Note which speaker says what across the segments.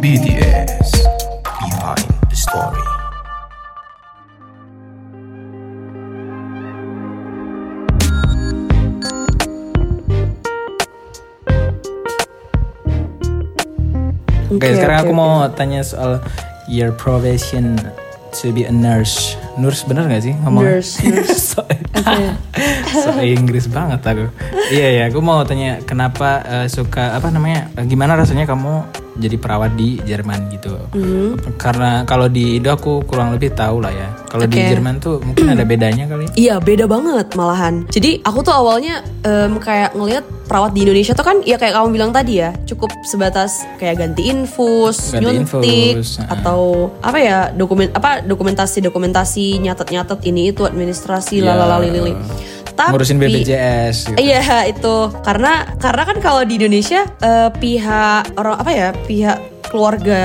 Speaker 1: BDS Behind the Story.
Speaker 2: Oke,
Speaker 3: Oke,
Speaker 2: sekarang
Speaker 3: oke,
Speaker 2: aku
Speaker 3: oke.
Speaker 2: mau tanya soal your profession to be a nurse. Nurse bener gak sih ngomong?
Speaker 3: Nurse, nurse.
Speaker 2: so, so Inggris banget aku. Iya ya, aku mau tanya kenapa eh, suka apa namanya? eh, Gimana rasanya kamu jadi perawat di Jerman gitu?
Speaker 3: Mm-hmm.
Speaker 2: Karena kalau di Indo aku kurang lebih tahu lah ya. Kalau di
Speaker 3: Oke.
Speaker 2: Jerman tuh mungkin ada bedanya kali.
Speaker 3: Iya beda banget malahan Jadi aku tuh awalnya em, kayak ngelihat perawat di Indonesia tuh kan Ya kayak kamu bilang tadi ya Cukup sebatas kayak ganti infus,
Speaker 2: Ganti
Speaker 3: nyuntik
Speaker 2: infus, ah.
Speaker 3: Atau apa ya dokumen apa dokumentasi-dokumentasi Nyatet-nyatet ini itu administrasi
Speaker 2: Iya.
Speaker 3: lalalali Tapi
Speaker 2: Ngurusin BPJS. Gitu.
Speaker 3: Iya itu karena karena kan kalau di Indonesia eh, pihak orang apa ya pihak keluarga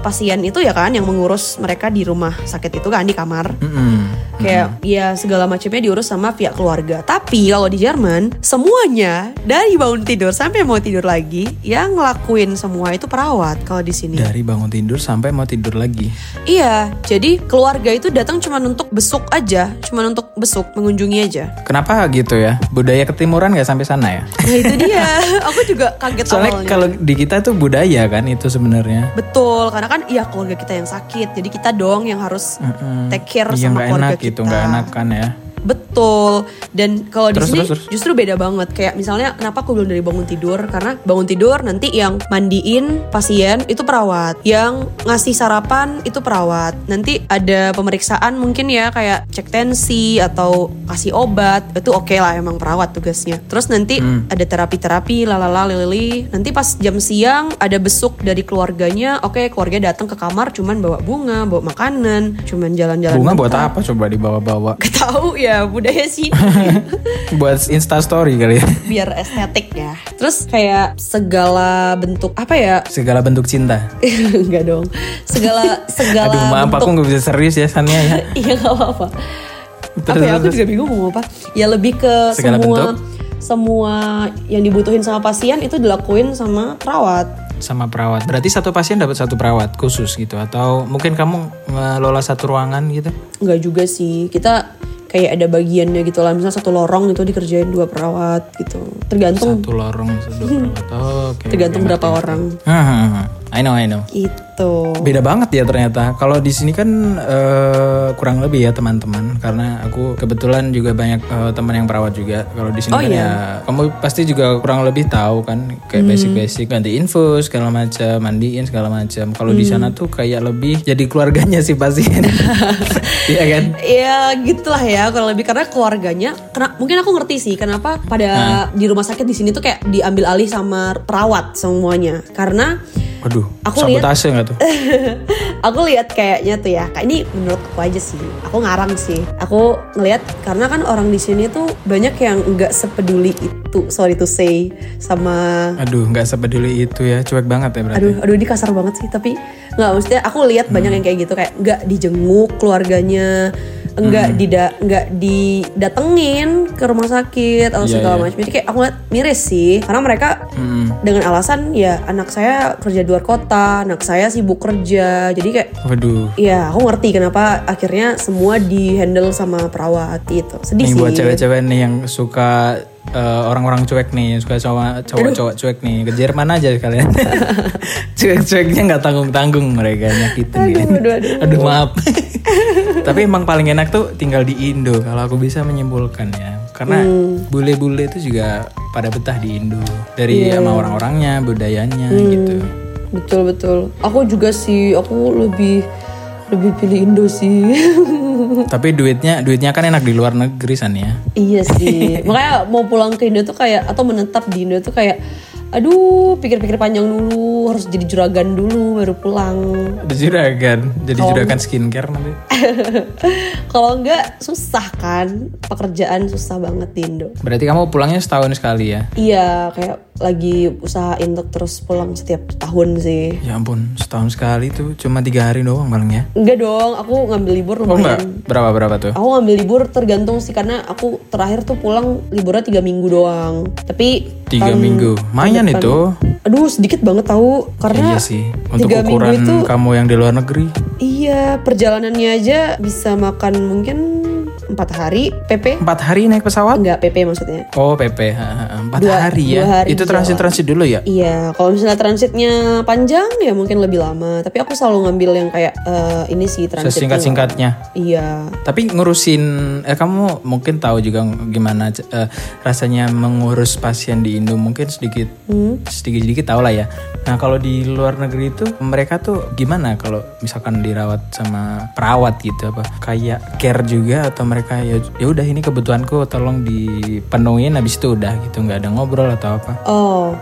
Speaker 3: pasien itu ya kan yang mengurus mereka di rumah sakit itu kan di kamar
Speaker 2: Mm-mm. Mm-hmm.
Speaker 3: kayak ya segala macamnya diurus sama pihak keluarga. Tapi kalau di Jerman semuanya dari bangun tidur sampai mau tidur lagi yang ngelakuin semua itu perawat kalau di sini.
Speaker 2: Dari bangun tidur sampai mau tidur lagi.
Speaker 3: Iya, jadi keluarga itu datang cuma untuk besuk aja, cuma untuk besuk mengunjungi aja.
Speaker 2: Kenapa gitu ya? Budaya ketimuran nggak sampai sana ya?
Speaker 3: Nah itu dia, aku juga kaget
Speaker 2: Soalnya
Speaker 3: awalnya.
Speaker 2: kalau di kita tuh budaya kan itu sebenarnya.
Speaker 3: Betul, karena kan ya keluarga kita yang sakit, jadi kita dong yang harus take care
Speaker 2: Yang
Speaker 3: sama
Speaker 2: nggak
Speaker 3: keluarga
Speaker 2: enak
Speaker 3: kita.
Speaker 2: gitu, nggak enak kan ya?
Speaker 3: Betul. Dan kalau di
Speaker 2: Terus,
Speaker 3: sini
Speaker 2: terus, terus.
Speaker 3: justru beda banget. Kayak misalnya kenapa aku belum dari bangun tidur? Karena bangun tidur nanti yang mandiin pasien itu perawat, yang ngasih sarapan itu perawat. Nanti ada pemeriksaan mungkin ya kayak cek tensi atau kasih obat. Itu oke lah emang perawat tugasnya. Terus nanti
Speaker 2: Hmm.
Speaker 3: ada terapi-terapi lalala lili. Nanti pas jam siang ada besuk dari keluarganya. Oke, keluarga datang ke kamar cuman bawa bunga, bawa makanan, cuman jalan-jalan.
Speaker 2: Bunga buat
Speaker 3: bentar.
Speaker 2: apa coba dibawa-bawa?
Speaker 3: Gak tahu ya budaya sih
Speaker 2: buat Insta Story kali ya.
Speaker 3: biar estetik ya. Terus kayak segala bentuk apa ya?
Speaker 2: Segala bentuk cinta.
Speaker 3: Enggak dong. Segala segala
Speaker 2: Aduh maaf
Speaker 3: bentuk.
Speaker 2: aku nggak bisa serius ya Sania ya.
Speaker 3: Iya nggak apa-apa.
Speaker 2: Terus,
Speaker 3: apa ya? Aku
Speaker 2: terus.
Speaker 3: juga bingung mau ngomong apa. Ya lebih ke
Speaker 2: Segala
Speaker 3: semua
Speaker 2: bentuk.
Speaker 3: semua yang dibutuhin sama pasien itu dilakuin sama perawat.
Speaker 2: Sama perawat. Berarti satu pasien dapat satu perawat khusus gitu atau mungkin kamu ngelola satu ruangan gitu?
Speaker 3: Enggak juga sih. Kita kayak ada bagiannya gitu lah. Misalnya satu lorong itu dikerjain dua perawat gitu. Tergantung
Speaker 2: Satu lorong, satu perawat. Oh, Oke. oke,
Speaker 3: tergantung berapa
Speaker 2: ngerti.
Speaker 3: orang. Gitu.
Speaker 2: Hahaha. I know, I know.
Speaker 3: Itu.
Speaker 2: Beda banget ya ternyata. Kalau di sini kan eh, kurang lebih ya teman-teman, karena aku kebetulan juga banyak eh, teman yang perawat juga. Kalau di sini
Speaker 3: Oh,
Speaker 2: kan
Speaker 3: iya. Hmm.
Speaker 2: ya, kamu pasti juga kurang lebih tahu kan, kayak basic-basic ganti infus segala macam, mandiin segala macam. Kalau di
Speaker 3: Hmm.
Speaker 2: sana tuh kayak lebih jadi keluarganya sih pasien, iya kan?
Speaker 3: Ya gitulah ya kurang lebih karena keluarganya kena, mungkin aku ngerti sih kenapa pada di rumah sakit di sini tuh kayak diambil alih sama perawat semuanya karena
Speaker 2: Waduh,
Speaker 3: Aku Eh.
Speaker 2: sabotase nggak tuh?
Speaker 3: aku lihat kayaknya tuh ya kayak ini menurut aku aja sih aku ngarang sih aku ngelihat karena kan orang di sini tuh banyak yang nggak sepeduli itu sorry to say sama
Speaker 2: Aduh, nggak sepeduli itu ya, cuek banget ya berarti. Hmm.
Speaker 3: aduh aduh ini kasar banget sih tapi nggak maksudnya aku lihat banyak yang kayak gitu kayak nggak dijenguk keluarganya nggak
Speaker 2: Hmm.
Speaker 3: dida nggak didatengin ke rumah sakit atau
Speaker 2: Iya,
Speaker 3: segala
Speaker 2: iya. Hmm.
Speaker 3: macam jadi kayak aku lihat miris sih karena mereka dengan alasan ya anak saya kerja di luar kota anak saya sibuk kerja jadi kayak
Speaker 2: Waduh.
Speaker 3: ya aku ngerti kenapa akhirnya semua di handle sama perawat itu sedih
Speaker 2: Nih
Speaker 3: sih
Speaker 2: buat cewek-cewek nih yang suka eh, orang-orang cuek nih, yang suka cowok- cowok-cowok cuek nih, ke Jerman aja kalian. Cuek-cueknya nggak tanggung-tanggung mereka nyakitin aduh,
Speaker 3: aduh, aduh.
Speaker 2: maaf. Tapi emang paling enak tuh tinggal di Indo kalau aku bisa menyimpulkan ya. Karena
Speaker 3: Hmm.
Speaker 2: bule-bule itu juga pada betah di Indo. Dari
Speaker 3: Iya.
Speaker 2: sama orang-orangnya, budayanya
Speaker 3: Hmm.
Speaker 2: gitu.
Speaker 3: betul betul aku juga sih aku lebih lebih pilih Indo sih
Speaker 2: Tapi duitnya duitnya kan enak di luar negeri San ya.
Speaker 3: Iya sih. Makanya mau pulang ke Indo tuh kayak atau menetap di Indo tuh kayak aduh pikir-pikir panjang dulu harus jadi juragan dulu baru pulang
Speaker 2: Jadi juragan, jadi
Speaker 3: Oh.
Speaker 2: juragan skincare nanti.
Speaker 3: kalau enggak susah kan pekerjaan susah banget di Indo
Speaker 2: Berarti kamu pulangnya setahun sekali ya?
Speaker 3: iya kayak lagi usahain untuk terus pulang setiap tahun sih
Speaker 2: Ya ampun, setahun sekali tuh cuma tiga hari doang paling ya.
Speaker 3: Enggak dong, aku ngambil libur
Speaker 2: Oh enggak,
Speaker 3: lumayan.
Speaker 2: berapa berapa tuh?
Speaker 3: Aku ngambil libur tergantung sih karena aku terakhir tuh pulang liburnya tiga minggu doang. Tapi
Speaker 2: Tiga
Speaker 3: tahun
Speaker 2: minggu, mayan
Speaker 3: depan-
Speaker 2: itu.
Speaker 3: Aduh sedikit banget tahu karena
Speaker 2: Iya sih, untuk
Speaker 3: tiga minggu
Speaker 2: ukuran
Speaker 3: itu
Speaker 2: kamu yang di luar negeri.
Speaker 3: iya perjalanannya aja bisa makan mungkin empat hari PP
Speaker 2: Empat hari naik pesawat?
Speaker 3: enggak PP maksudnya.
Speaker 2: Oh PP, ha, ha, ha. empat
Speaker 3: Dua-
Speaker 2: hari
Speaker 3: dua
Speaker 2: ya.
Speaker 3: hari
Speaker 2: itu
Speaker 3: di
Speaker 2: transit transit dulu ya?
Speaker 3: Iya, kalau misalnya transitnya panjang ya mungkin lebih lama. Tapi aku selalu ngambil yang kayak eh, ini sih transit.
Speaker 2: Sesingkat singkatnya.
Speaker 3: Iya,
Speaker 2: Tapi ngurusin, eh, kamu mungkin tahu juga gimana eh, rasanya mengurus pasien di Indo mungkin sedikit,
Speaker 3: Hmm.
Speaker 2: sedikit sedikit tahu lah ya. Nah kalau di luar negeri itu mereka tuh gimana kalau misalkan dirawat sama perawat gitu apa kayak care juga atau mereka ya ya udah ini kebutuhanku tolong dipenuhin habis itu udah gitu nggak ada ngobrol atau apa?
Speaker 3: Oh,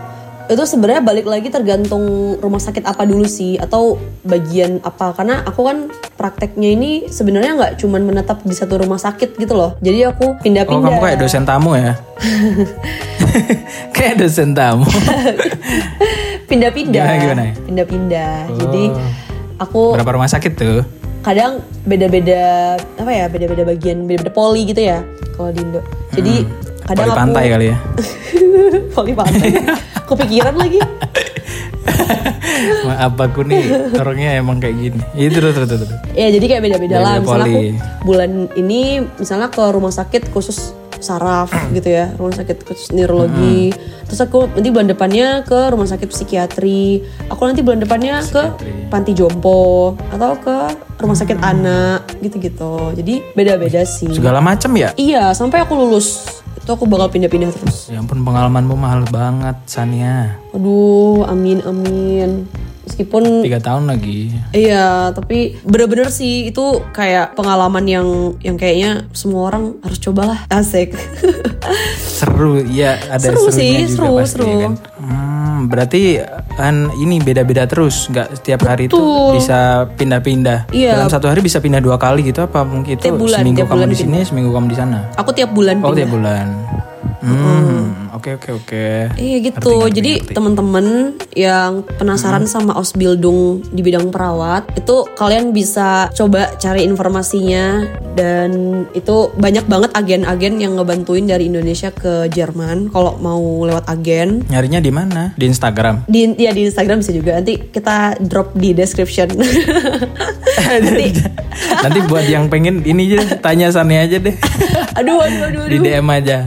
Speaker 3: itu sebenarnya balik lagi tergantung rumah sakit apa dulu sih atau bagian apa karena aku kan prakteknya ini sebenarnya nggak cuman menetap di satu rumah sakit gitu loh. Jadi aku
Speaker 2: Oh
Speaker 3: pindah-pindah.
Speaker 2: kamu kayak dosen tamu ya? kayak dosen tamu.
Speaker 3: pindah-pindah.
Speaker 2: Gimana, gimana?
Speaker 3: Pindah-pindah. Jadi aku
Speaker 2: Berapa rumah sakit tuh?
Speaker 3: kadang beda-beda apa ya beda-beda bagian beda-beda poli gitu ya kalau di Indo. Jadi
Speaker 2: Hmm.
Speaker 3: kadang
Speaker 2: Poli
Speaker 3: aku
Speaker 2: pantai kali ya.
Speaker 3: poli pantai. Kepikiran lagi.
Speaker 2: Maaf aku nih orangnya emang kayak gini. Itu terus terus terus.
Speaker 3: Ya jadi kayak beda-beda lah
Speaker 2: Beda-beda
Speaker 3: Misalnya aku
Speaker 2: poli.
Speaker 3: bulan ini misalnya ke rumah sakit khusus saraf gitu ya Rumah sakit khusus neurologi Terus aku nanti bulan depannya ke rumah sakit psikiatri Aku nanti bulan depannya ke
Speaker 2: Psikiatri.
Speaker 3: panti jompo Atau ke rumah sakit anak gitu-gitu Jadi beda-beda sih
Speaker 2: Segala macam ya.
Speaker 3: Iya sampai aku lulus Itu aku bakal pindah-pindah terus
Speaker 2: Ya ampun pengalamanmu mahal banget Sania.
Speaker 3: Aduh amin amin Meskipun
Speaker 2: Tiga tahun lagi.
Speaker 3: Iya, tapi bener-bener sih itu kayak pengalaman yang yang kayaknya semua orang harus cobalah. Asik.
Speaker 2: Seru ya ada
Speaker 3: Seru
Speaker 2: serunya
Speaker 3: sih,
Speaker 2: juga
Speaker 3: seru,
Speaker 2: pasti
Speaker 3: seru.
Speaker 2: ya kan. Hmm, berarti kan ini beda-beda terus, nggak setiap hari itu
Speaker 3: Betul.
Speaker 2: bisa pindah-pindah.
Speaker 3: Iya.
Speaker 2: Dalam satu hari bisa pindah dua kali gitu apa mungkin itu
Speaker 3: Tiap bulan,
Speaker 2: seminggu
Speaker 3: tiap
Speaker 2: kamu
Speaker 3: bulan
Speaker 2: di sini, seminggu kamu di sana.
Speaker 3: Aku tiap bulan
Speaker 2: Oh tiap
Speaker 3: pindah.
Speaker 2: bulan. Hmm, oke oke oke.
Speaker 3: Iya gitu. Jadi temen-temen yang penasaran
Speaker 2: Mm-hmm.
Speaker 3: sama Ausbildung di bidang perawat itu kalian bisa coba cari informasinya dan itu banyak banget agen-agen yang ngebantuin dari Indonesia ke Jerman kalau mau lewat agen.
Speaker 2: Nyarinya di mana? Di Instagram.
Speaker 3: di ya di Instagram bisa juga nanti kita drop di description nanti
Speaker 2: Nanti buat yang pengen ini aja tanya Sani aja deh.
Speaker 3: aduh aduh aduh,
Speaker 2: Di
Speaker 3: aduh.
Speaker 2: DM aja.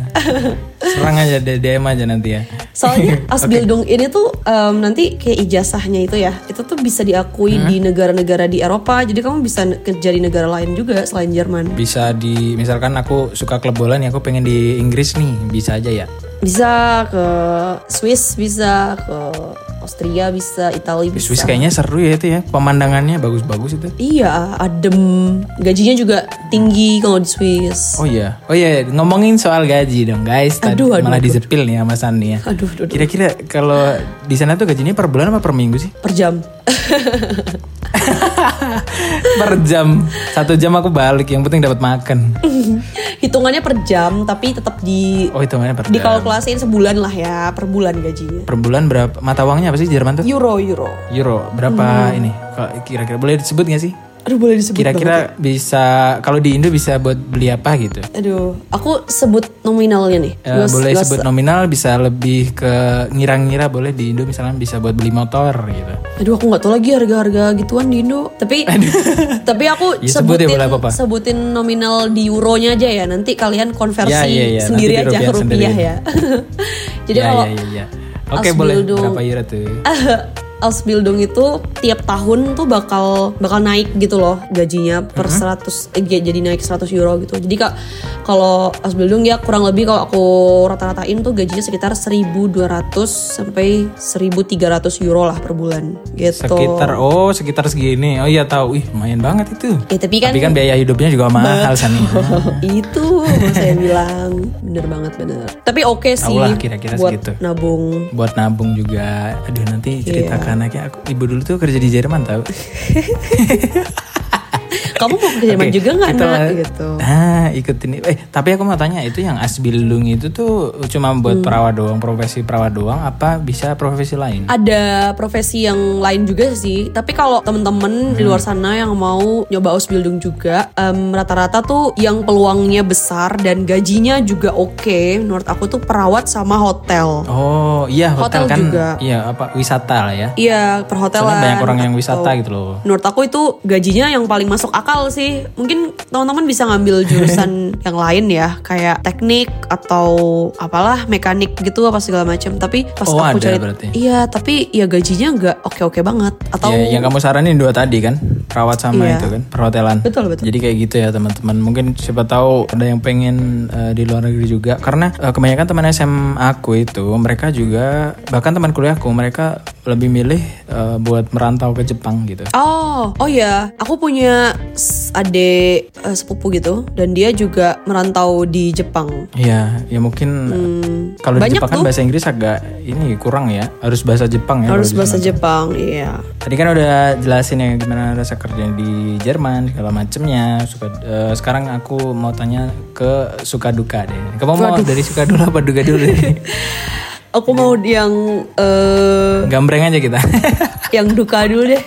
Speaker 2: Serang aja deh DM aja nanti ya.
Speaker 3: soalnya Ausbildung ini tuh em, nanti kayak ijazahnya itu ya itu tuh bisa diakui di negara-negara di Eropa jadi kamu bisa ne- kerja di negara lain juga selain Jerman
Speaker 2: Bisa di misalkan aku suka klub bola nih aku pengen di Inggris nih, bisa aja ya.
Speaker 3: bisa ke Swiss bisa ke Austria bisa Italia
Speaker 2: Di
Speaker 3: bisa
Speaker 2: Swiss kayaknya seru ya itu ya. Pemandangannya bagus-bagus itu.
Speaker 3: iya adem gajinya juga tinggi kalau di Swiss
Speaker 2: Oh iya. Oh iya, ngomongin soal gaji dong, guys. Tadi
Speaker 3: Aduh, aduh,
Speaker 2: malah
Speaker 3: aduh.
Speaker 2: disepil nih sama Sani ya.
Speaker 3: aduh aduh, aduh.
Speaker 2: Kira-kira kalau di sana tuh gajinya per bulan apa per minggu sih?
Speaker 3: per jam
Speaker 2: per jam satu jam aku balik yang penting dapat makan
Speaker 3: hitungannya per jam tapi tetap di
Speaker 2: oh hitungannya per jam
Speaker 3: dikalkulasiin sebulan lah ya per bulan gajinya
Speaker 2: per bulan berapa mata uangnya apa sih Jerman tuh
Speaker 3: euro euro
Speaker 2: euro
Speaker 3: Hmm.
Speaker 2: berapa ini Kalau kira-kira boleh disebut nggak sih
Speaker 3: aduh boleh disebut
Speaker 2: kira-kira
Speaker 3: gitu.
Speaker 2: bisa kalau di Indo bisa buat beli apa gitu
Speaker 3: banget. aduh aku sebut nominalnya nih
Speaker 2: Eh,
Speaker 3: Gua-
Speaker 2: boleh
Speaker 3: gua-
Speaker 2: sebut nominal bisa lebih ke ngira-ngira boleh di Indo misalnya bisa buat beli motor gitu
Speaker 3: aduh aku nggak tahu lagi harga-harga gituan di Indo tapi tapi aku
Speaker 2: Ya, sebut
Speaker 3: sebutin
Speaker 2: ya, boleh apa-apa.
Speaker 3: sebutin nominal di euronya aja ya nanti kalian konversi
Speaker 2: Ya, ya, ya.
Speaker 3: sendiri
Speaker 2: Nanti di
Speaker 3: aja ke
Speaker 2: rupiah
Speaker 3: rupiah
Speaker 2: sendiri.
Speaker 3: ya jadi
Speaker 2: ya,
Speaker 3: kalau
Speaker 2: ya, ya, ya. oke boleh
Speaker 3: Ausbildung.
Speaker 2: berapa euro tuh
Speaker 3: Ausbildung itu tiap tahun tuh bakal bakal naik gitu loh gajinya per
Speaker 2: Mhm.
Speaker 3: 100 eh, j- jadi naik 100 euro gitu. Jadi kak kalau Ausbildung ya kurang lebih kalau aku rata-ratain tuh gajinya sekitar 1200 sampai 1300 euro lah per bulan gitu.
Speaker 2: sekitar oh sekitar segini oh iya tahu ih lumayan banget itu
Speaker 3: Ya, tapi kan-
Speaker 2: tapi kan biaya hidupnya juga mahal Sani
Speaker 3: itu mau saya bilang bener banget bener tapi oke sih
Speaker 2: Taulah kira-kira
Speaker 3: buat
Speaker 2: segitu.
Speaker 3: nabung
Speaker 2: buat nabung juga aduh nanti cerita
Speaker 3: Iya.
Speaker 2: ke anaknya aku ibu dulu tuh kerja di Jerman tahu
Speaker 3: kamu mau ke Jerman
Speaker 2: Oke,
Speaker 3: Iya, juga nggak
Speaker 2: kita-
Speaker 3: nak gitu
Speaker 2: ah ikutin eh tapi aku mau tanya itu yang asbildung itu tuh cuma
Speaker 3: Hmm.
Speaker 2: buat perawat doang profesi perawat doang apa bisa profesi lain
Speaker 3: ada profesi yang lain juga sih tapi kalau temen-temen
Speaker 2: Hmm.
Speaker 3: di luar sana yang mau nyoba Ausbildung juga em, rata-rata tuh yang peluangnya besar dan gajinya juga oke menurut aku tuh perawat sama hotel
Speaker 2: oh iya hotel,
Speaker 3: Hotel
Speaker 2: kan
Speaker 3: juga.
Speaker 2: iya apa wisata lah ya
Speaker 3: Iya perhotelan
Speaker 2: Soalnya banyak orang yang
Speaker 3: atau-
Speaker 2: wisata gitu loh.
Speaker 3: Menurut aku itu gajinya yang paling masuk akal sih Mungkin teman-teman bisa ngambil jurusan yang lain ya Kayak teknik atau apalah mekanik gitu apa segala macam. Tapi pas
Speaker 2: Oh,
Speaker 3: aku
Speaker 2: ada
Speaker 3: cari
Speaker 2: berarti.
Speaker 3: Iya tapi ya gajinya nggak oke-oke banget Atau
Speaker 2: Ya, yang kamu saranin dua tadi kan, perawat sama
Speaker 3: Iya.
Speaker 2: itu kan, perhotelan.
Speaker 3: Betul, betul.
Speaker 2: Jadi kayak gitu ya teman-teman. Mungkin siapa tahu ada yang pengen eh, di luar negeri juga. Karena eh, kebanyakan teman SMA aku itu mereka juga bahkan teman kuliahku mereka lebih milih eh, buat merantau ke Jepang gitu.
Speaker 3: Oh, oh ya, aku punya s- adik eh, sepupu gitu, dan dia juga merantau di Jepang.
Speaker 2: Iya, ya mungkin eh, kalau di
Speaker 3: Hmm, banyak
Speaker 2: Jepang kan
Speaker 3: tuh.
Speaker 2: bahasa Inggris agak ini kurang ya. Harus bahasa Jepang ya.
Speaker 3: Harus
Speaker 2: kalau di
Speaker 3: bahasa
Speaker 2: sana.
Speaker 3: Jepang, iya.
Speaker 2: Tadi kan udah jelasin ya gimana rasa kerja di Jerman segala macemnya. Suka, eh, sekarang aku mau tanya ke suka duka deh. Kamu mau dari suka dulu apa duka dulu? nih?
Speaker 3: Aku mau yang eh
Speaker 2: Gambreng aja kita.
Speaker 3: yang duka dulu deh.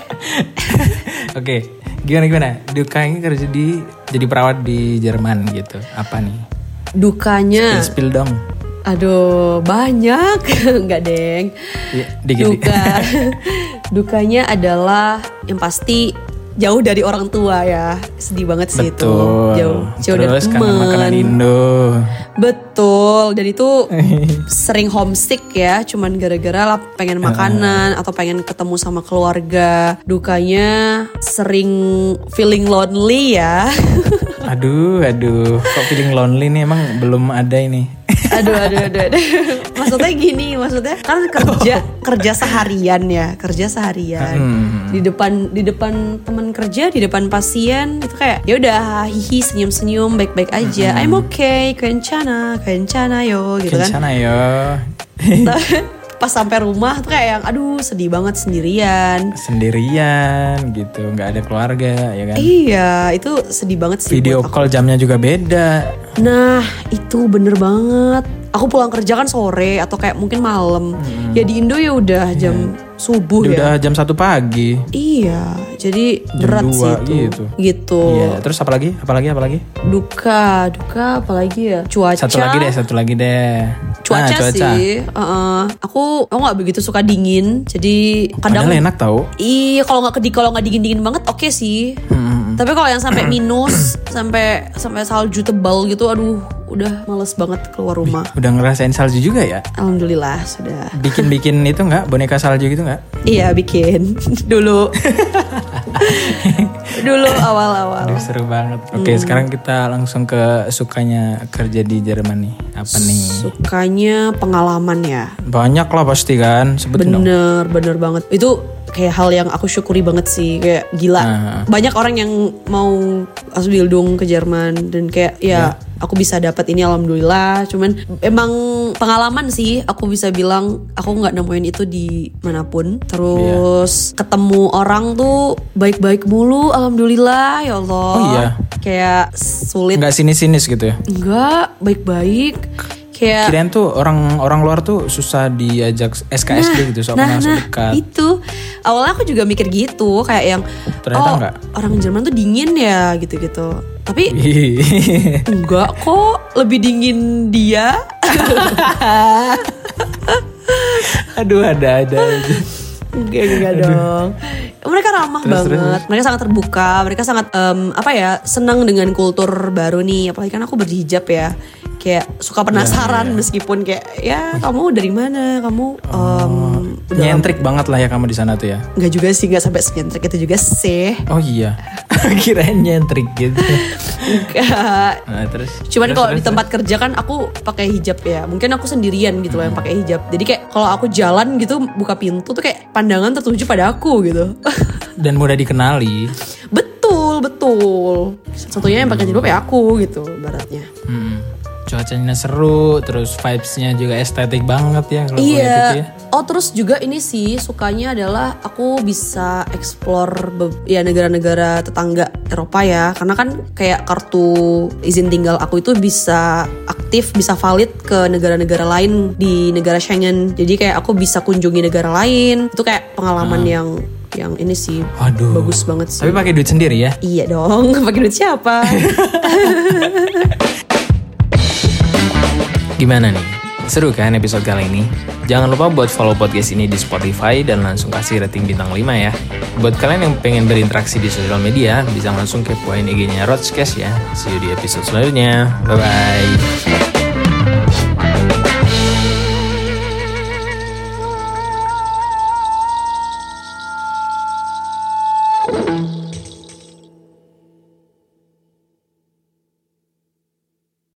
Speaker 2: Oke, gimana gimana? Duka ini kerja di jadi perawat di Jerman gitu. Apa nih?
Speaker 3: Dukanya,
Speaker 2: Spill dong.
Speaker 3: aduh banyak, nggak deng.
Speaker 2: Iya, dikit.
Speaker 3: Duka, dukanya adalah yang pasti jauh dari orang tua ya. Sedih banget sih itu.
Speaker 2: Betul.
Speaker 3: Jauh, jauh
Speaker 2: Terus
Speaker 3: dari
Speaker 2: kangen makanan
Speaker 3: teman.
Speaker 2: Indo.
Speaker 3: Betul, dan itu sering homesick ya, cuman gara-gara lah pengen makanan atau pengen ketemu sama keluarga. Dukanya sering feeling lonely ya.
Speaker 2: Aduh, aduh. Kok feeling lonely nih emang belum ada ini.
Speaker 3: aduh, aduh, aduh, aduh. Maksudnya gini, maksudnya kan kerja kerja seharian ya, kerja seharian. Di depan di depan teman kerja, di depan pasien itu kayak ya udah hihi senyum-senyum baik-baik aja. I'm okay, kencana, kencana yo gitu kan.
Speaker 2: Kencana yo.
Speaker 3: Ta- pas sampai rumah tuh kayak yang aduh sedih banget sendirian
Speaker 2: Sendirian gitu, nggak ada keluarga ya kan.
Speaker 3: iya itu sedih banget sih
Speaker 2: Video
Speaker 3: buat aku.
Speaker 2: call jamnya juga beda.
Speaker 3: nah itu bener banget aku pulang kerja kan sore atau kayak mungkin malam ya di Indo ya
Speaker 2: Iya.
Speaker 3: udah jam subuh
Speaker 2: Dia
Speaker 3: ya
Speaker 2: Udah jam satu pagi.
Speaker 3: iya jadi
Speaker 2: Jam
Speaker 3: berat
Speaker 2: dua
Speaker 3: sih itu
Speaker 2: gitu.
Speaker 3: gitu
Speaker 2: Iya, terus apa lagi? Apa lagi? Apa lagi?
Speaker 3: duka duka apalagi ya cuaca
Speaker 2: Satu lagi deh, satu lagi deh.
Speaker 3: cuaca,
Speaker 2: Ah,
Speaker 3: sih Heeh. aku aku nggak begitu suka dingin jadi
Speaker 2: Oh,
Speaker 3: kadang
Speaker 2: Padahal enak tau.
Speaker 3: Iya, kalau nggak kedi kalau nggak dingin dingin banget, oke sih. Tapi kalau yang sampai minus, sampai sampai salju tebal gitu, aduh, udah males banget keluar rumah.
Speaker 2: Udah ngerasain salju juga ya?
Speaker 3: Alhamdulillah sudah.
Speaker 2: Bikin-bikin itu nggak? Boneka salju gitu nggak?
Speaker 3: Iya bikin dulu, dulu awal-awal.
Speaker 2: Aduh, Oh, seru banget. Oke,
Speaker 3: Iya.
Speaker 2: sekarang kita langsung ke sukanya kerja di Jerman nih. Apa nih?
Speaker 3: Sukanya pengalaman ya.
Speaker 2: Banyak lah pasti kan. Sebutin dong.
Speaker 3: Bener, bener banget. Itu kayak hal yang aku syukuri banget sih, kayak gila.
Speaker 2: Ah.
Speaker 3: Banyak orang yang mau Ausbildung ke Jerman dan kayak ya aku bisa dapat ini alhamdulillah. Cuman emang pengalaman sih, aku bisa bilang aku nggak nemuin itu di manapun.
Speaker 2: Iya.
Speaker 3: Terus ketemu orang tuh baik-baik mulu, alhamdulillah ya Allah.
Speaker 2: Oh iya.
Speaker 3: Kayak sulit.
Speaker 2: Nggak sinis-sinis gitu ya?
Speaker 3: Enggak, baik-baik. Kayak
Speaker 2: Kirain tuh orang orang luar tuh susah diajak SKSD gitu soal masuk dekat.
Speaker 3: Nah, itu awalnya aku juga mikir gitu kayak yang
Speaker 2: Ternyata
Speaker 3: oh
Speaker 2: enggak. Iya.
Speaker 3: orang Jerman tuh dingin ya gitu-gitu tapi enggak kok lebih dingin dia
Speaker 2: Aduh ada ada. aja.
Speaker 3: enggak enggak dong mereka ramah banget mereka sangat terbuka mereka sangat em, apa ya senang dengan kultur baru nih apalagi kan aku berhijab ya
Speaker 2: Iya,
Speaker 3: kayak suka penasaran meskipun kayak ya kamu dari mana kamu em,
Speaker 2: Oh,
Speaker 3: Udah
Speaker 2: nyentrik banget lah ya kamu di sana tuh ya
Speaker 3: Nggak juga sih, nggak sampai nyentrik itu juga sih.
Speaker 2: oh iya kirain nyentrik gitu
Speaker 3: Nggak.
Speaker 2: nah, terus
Speaker 3: Cuman
Speaker 2: terus,
Speaker 3: kalau
Speaker 2: terus,
Speaker 3: di tempat kerja kan aku pakai hijab ya. Mungkin aku sendirian gitu loh yang pakai hijab. Jadi kayak kalau aku jalan gitu buka pintu tuh kayak pandangan tertuju pada aku gitu.
Speaker 2: terus. dan mudah dikenali
Speaker 3: betul, betul. Satunya yang pakai jilbab ya aku gitu baratnya.
Speaker 2: Mm-mm. Hmm. cuacanya seru terus vibesnya juga estetik banget ya kalau aku lihat itu ya
Speaker 3: Iya. Oh terus juga ini sih sukanya adalah aku bisa explore be- ya negara-negara tetangga Eropa ya karena kan kayak kartu izin tinggal aku itu bisa aktif bisa valid ke negara-negara lain di negara Schengen jadi kayak aku bisa kunjungi negara lain itu kayak pengalaman yang yang ini sih
Speaker 2: Waduh.
Speaker 3: bagus banget sih
Speaker 2: Hmm. tapi pakai duit sendiri ya
Speaker 3: iya dong pakai duit siapa
Speaker 2: Gimana nih? Seru kan episode kali ini? Jangan lupa buat follow podcast ini di Spotify dan langsung kasih rating bintang 5 ya. Buat kalian yang pengen berinteraksi di sosial media, bisa langsung kepoin IG-nya Rodcast ya. See you di episode selanjutnya. Bye-bye.